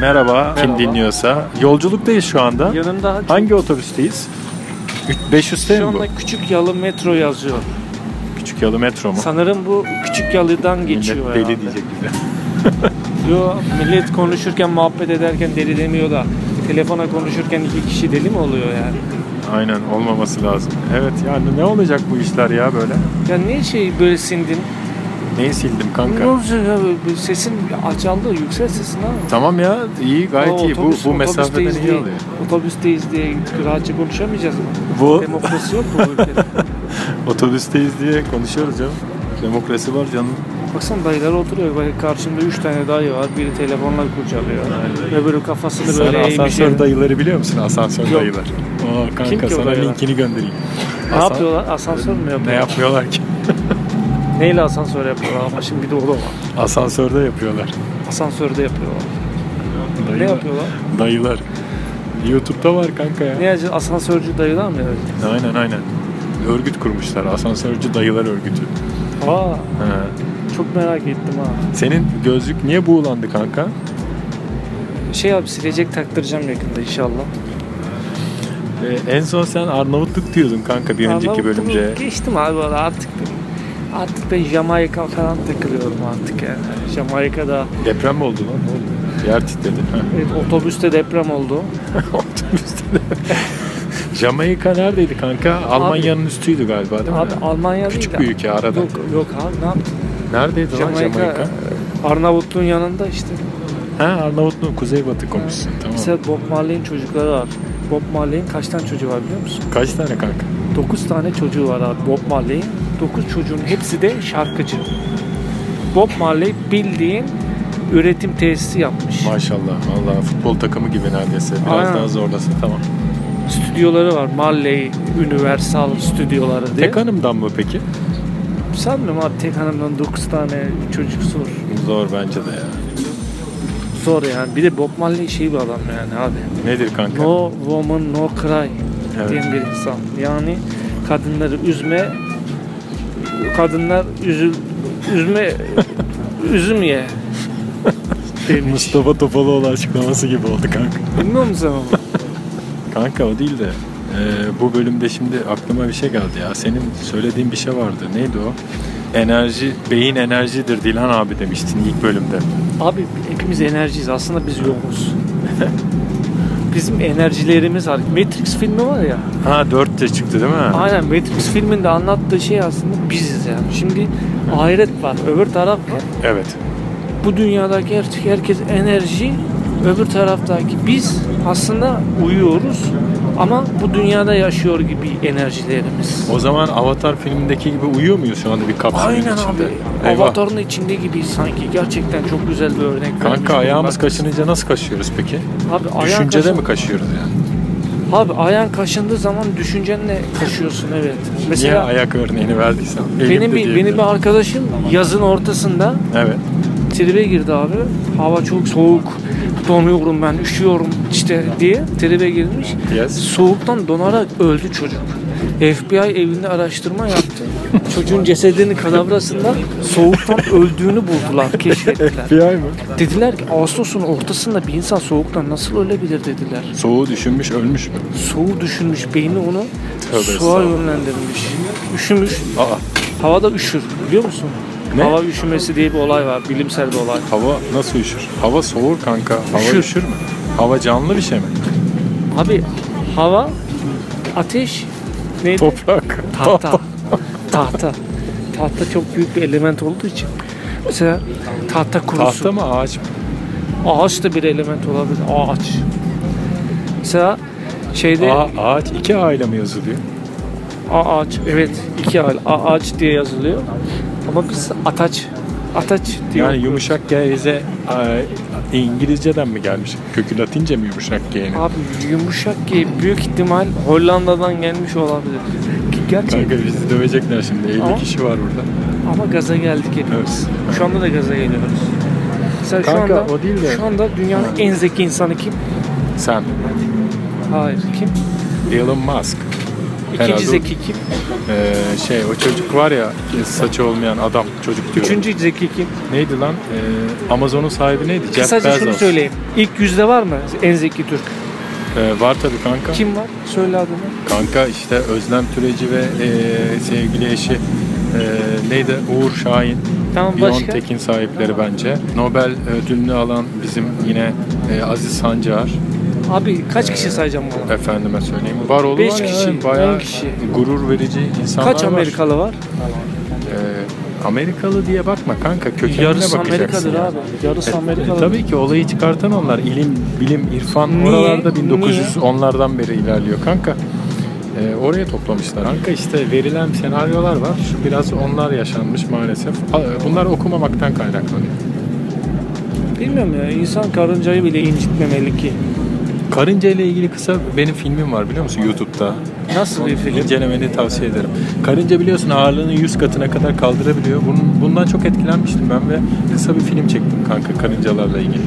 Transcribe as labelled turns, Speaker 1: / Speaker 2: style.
Speaker 1: Merhaba, kim
Speaker 2: Merhaba.
Speaker 1: dinliyorsa. Yolculuktayız şu anda.
Speaker 2: Yanımda çok-
Speaker 1: Hangi otobüsteyiz? 500'te
Speaker 2: şu
Speaker 1: mi bu?
Speaker 2: anda Küçük Yalı metro yazıyor.
Speaker 1: Küçük Yalı metro mu?
Speaker 2: Sanırım bu Küçük Yalı'dan geçiyor
Speaker 1: Millet
Speaker 2: herhalde.
Speaker 1: deli diyecek bize.
Speaker 2: Yo, millet konuşurken, muhabbet ederken deli demiyor da telefona konuşurken iki kişi deli mi oluyor yani?
Speaker 1: Aynen olmaması lazım. Evet yani ne olacak bu işler ya böyle?
Speaker 2: Ya ne şey böyle sindin?
Speaker 1: Neyi sildim
Speaker 2: Ne
Speaker 1: kanka?
Speaker 2: olacak ya? Bu Sesin açıldı, yüksek sesin ha.
Speaker 1: Tamam ya iyi gayet
Speaker 2: Aa,
Speaker 1: iyi. Bu,
Speaker 2: otobüs-
Speaker 1: bu
Speaker 2: otobüsteyiz
Speaker 1: mesafeden iyi
Speaker 2: diye-
Speaker 1: oluyor.
Speaker 2: Otobüsteyiz diye rahatça konuşamayacağız mı?
Speaker 1: Bu
Speaker 2: Demokrasi yok mu bu ülkede?
Speaker 1: otobüsteyiz diye konuşuyoruz canım. Demokrasi var canım.
Speaker 2: Baksana dayılar oturuyor. Bak karşımda üç tane dayı var. Biri telefonla kurcalıyor. Öbürü kafasını
Speaker 1: Sen
Speaker 2: böyle eğmiş.
Speaker 1: asansör dayıları biliyor musun? Asansör
Speaker 2: Yok.
Speaker 1: dayılar. Aa, kanka
Speaker 2: Kim ki o
Speaker 1: sana
Speaker 2: dayılar?
Speaker 1: linkini göndereyim.
Speaker 2: Ne
Speaker 1: Asan-
Speaker 2: yapıyorlar? Asansör mü yapıyorlar?
Speaker 1: Ne yapmıyorlar ki?
Speaker 2: Neyle asansör yapıyorlar ama şimdi bir de o da var.
Speaker 1: Asansörde yapıyorlar.
Speaker 2: Asansörde yapıyorlar.
Speaker 1: Dayılar.
Speaker 2: Ne yapıyorlar?
Speaker 1: Dayılar. YouTube'da var kanka ya.
Speaker 2: Ne yapacağız? Asansörcü dayılar mı yani?
Speaker 1: Aynen aynen. Örgüt kurmuşlar. Asansörcü dayılar örgütü.
Speaker 2: Aa,
Speaker 1: Ha.
Speaker 2: çok merak ettim ha.
Speaker 1: Senin gözlük niye buğulandı kanka?
Speaker 2: Şey abi silecek taktıracağım yakında inşallah.
Speaker 1: Ee, en son sen Arnavutluk diyordun kanka bir önceki
Speaker 2: Arnavutluk'u
Speaker 1: bölümde.
Speaker 2: Geçtim abi valla artık ben, artık ben Jamaika falan takılıyorum artık yani. Jamaika'da
Speaker 1: Deprem mi oldu lan? Ne oldu? Yer titredi. Ha.
Speaker 2: evet, otobüste deprem oldu.
Speaker 1: Otobüste de. Jamaika neredeydi kanka? Almanya'nın üstüydü galiba değil mi?
Speaker 2: Abi Almanya
Speaker 1: Küçük
Speaker 2: değil
Speaker 1: bir
Speaker 2: de-
Speaker 1: ülke arada.
Speaker 2: Yok, yok abi ne yaptın?
Speaker 1: Neredeydi lan
Speaker 2: Jamaika,
Speaker 1: Jamaika?
Speaker 2: Arnavutluğun yanında işte.
Speaker 1: Ha Arnavutluğun kuzeybatı komşusu. Tamam.
Speaker 2: Mesela Bob Marley'in çocukları var. Bob Marley'in kaç tane çocuğu var biliyor musun?
Speaker 1: Kaç tane kanka?
Speaker 2: 9 tane çocuğu var abi Bob Marley'in. 9 çocuğun hepsi de şarkıcı. Bob Marley bildiğin üretim tesisi yapmış.
Speaker 1: Maşallah. Vallahi futbol takımı gibi neredeyse. Biraz
Speaker 2: Aynen.
Speaker 1: daha zorlasa tamam.
Speaker 2: Stüdyoları var. Marley Universal stüdyoları diye.
Speaker 1: Tek hanımdan mı peki?
Speaker 2: Sanmıyorum abi tek hanımdan 9 tane çocuk zor.
Speaker 1: Zor bence de ya.
Speaker 2: Zor yani. Bir de Bob Marley şey bir adam yani abi.
Speaker 1: Nedir kanka?
Speaker 2: No woman no cry
Speaker 1: Evet.
Speaker 2: diyen bir insan. Yani kadınları üzme, kadınlar üzül, üzme, üzüm ye demiş.
Speaker 1: Şey, Mustafa Topaloğlu açıklaması gibi oldu kanka.
Speaker 2: Bilmiyor musun sen onu?
Speaker 1: Kanka o değil de e, bu bölümde şimdi aklıma bir şey geldi ya. Senin söylediğin bir şey vardı. Neydi o? Enerji, beyin enerjidir Dilan abi demiştin ilk bölümde.
Speaker 2: Abi hepimiz enerjiyiz. Aslında biz yokuz. Bizim enerjilerimiz var. Matrix filmi var ya.
Speaker 1: Ha 4 de çıktı değil mi?
Speaker 2: Aynen Matrix filminde anlattığı şey aslında biziz yani. Şimdi ahiret var, öbür taraf var.
Speaker 1: Evet.
Speaker 2: bu dünyadaki artık herkes enerji öbür taraftaki biz aslında uyuyoruz ama bu dünyada yaşıyor gibi enerjilerimiz.
Speaker 1: O zaman Avatar filmindeki gibi uyuyor muyuz şu anda bir kapsülün
Speaker 2: Aynen
Speaker 1: içinde?
Speaker 2: abi.
Speaker 1: Eyvah.
Speaker 2: Avatar'ın içinde gibiyiz sanki. Gerçekten çok güzel bir örnek. vermiş
Speaker 1: Kanka
Speaker 2: bunu.
Speaker 1: ayağımız
Speaker 2: Bak-
Speaker 1: kaşınınca nasıl kaşıyoruz peki?
Speaker 2: Abi, ayağın
Speaker 1: Düşüncede
Speaker 2: kaşın-
Speaker 1: mi kaşıyoruz yani?
Speaker 2: Abi ayağın kaşındığı zaman düşüncenle kaşıyorsun evet.
Speaker 1: Niye
Speaker 2: Mesela
Speaker 1: ayak örneğini verdiysen?
Speaker 2: benim bir, benim
Speaker 1: benim
Speaker 2: bir arkadaşım yazın ortasında
Speaker 1: Evet.
Speaker 2: tribe girdi abi. Hava çok soğuk. Donuyorum ben, üşüyorum işte diye tribe girmiş.
Speaker 1: Yes.
Speaker 2: Soğuktan donarak öldü çocuk. FBI evinde araştırma yaptı. Çocuğun cesedini kadavrasından soğuktan öldüğünü buldular, keşfettiler.
Speaker 1: Bir ay mı?
Speaker 2: Dediler ki Ağustos'un ortasında bir insan soğuktan nasıl ölebilir dediler.
Speaker 1: Soğuğu düşünmüş ölmüş mü?
Speaker 2: Soğuğu düşünmüş, beyni onu
Speaker 1: Tövbe
Speaker 2: suya
Speaker 1: estağfurullah.
Speaker 2: yönlendirmiş. Üşümüş,
Speaker 1: Aa
Speaker 2: havada üşür biliyor musun?
Speaker 1: Ne?
Speaker 2: Hava üşümesi diye bir olay var, bilimsel bir olay.
Speaker 1: hava nasıl üşür? Hava soğur kanka. Hava
Speaker 2: Üşür.
Speaker 1: üşür, mü? Hava canlı bir şey mi?
Speaker 2: Abi hava, ateş, neydi?
Speaker 1: Oh. Toprak.
Speaker 2: Tahta. tahta. Tahta çok büyük bir element olduğu için. Mesela tahta kurusu.
Speaker 1: Tahta mı ağaç mı?
Speaker 2: Ağaç da bir element olabilir. Ağaç. Mesela şeyde
Speaker 1: Aa, ağaç iki aile mi yazılıyor?
Speaker 2: ağaç. Evet iki ağaç. Ağaç diye yazılıyor. Ama biz ataç. Ataç diye.
Speaker 1: Yani
Speaker 2: okuyoruz.
Speaker 1: yumuşak G bize aa, İngilizceden mi gelmiş? Kökü Latince mi yumuşak G'nin?
Speaker 2: Abi yumuşak ki büyük ihtimal Hollanda'dan gelmiş olabilir. Ki Gerçek
Speaker 1: Kanka bizi dövecekler şimdi. 50
Speaker 2: Ama-
Speaker 1: kişi var burada.
Speaker 2: ama gaza geldik hepimiz. Şu anda da gaza geliyoruz. Mesela şu
Speaker 1: Kanka,
Speaker 2: anda,
Speaker 1: o değil de-
Speaker 2: şu anda dünyanın en zeki insanı kim?
Speaker 1: Sen.
Speaker 2: Hayır kim?
Speaker 1: Elon Musk.
Speaker 2: İkinci
Speaker 1: Herhalde o-
Speaker 2: zeki kim?
Speaker 1: Ee, şey o çocuk var ya e, saçı olmayan adam çocuk diyor.
Speaker 2: Üçüncü zeki kim?
Speaker 1: Neydi lan? Ee, Amazon'un sahibi neydi? Jeff
Speaker 2: Kısaca şunu
Speaker 1: Bezos.
Speaker 2: söyleyeyim. İlk yüzde var mı en zeki Türk?
Speaker 1: Ee, var tabii kanka.
Speaker 2: Kim var? Söyle adını.
Speaker 1: Kanka işte Özlem Türeci ve ee, sevgili eşi ee, neydi? Uğur Şahin.
Speaker 2: Tamam başka?
Speaker 1: Beyond Tekin sahipleri bence. Nobel ödülünü alan bizim yine ee, Aziz Sancar.
Speaker 2: Abi kaç
Speaker 1: Ee,
Speaker 2: kişi sayacağım bana?
Speaker 1: Efendime söyleyeyim. Var oğlu
Speaker 2: Beş
Speaker 1: var ya,
Speaker 2: kişi,
Speaker 1: bayağı
Speaker 2: on kişi.
Speaker 1: gurur verici insanlar
Speaker 2: Kaç
Speaker 1: var.
Speaker 2: Amerikalı var?
Speaker 1: Ee, Amerikalı diye bakma kanka kökenine
Speaker 2: Yarısı
Speaker 1: bakacaksın.
Speaker 2: Amerikadır abi. Yarısı Amerikalı.
Speaker 1: E, tabii ki olayı çıkartan onlar. İlim, bilim, irfan
Speaker 2: Niye?
Speaker 1: oralarda
Speaker 2: Niye?
Speaker 1: 1900 onlardan beri ilerliyor kanka. E, oraya toplamışlar. Kanka işte verilen senaryolar var. Şu biraz onlar yaşanmış maalesef. A- e, Bunlar okumamaktan kaynaklanıyor.
Speaker 2: Bilmiyorum ya insan karıncayı bile incitmemeli ki.
Speaker 1: Karınca ile ilgili kısa benim filmim var biliyor musun YouTube'da.
Speaker 2: Nasıl bir film?
Speaker 1: İncelemeni tavsiye ederim. Karınca biliyorsun ağırlığını 100 katına kadar kaldırabiliyor. Bunun, bundan çok etkilenmiştim ben ve kısa bir film çektim kanka karıncalarla ilgili.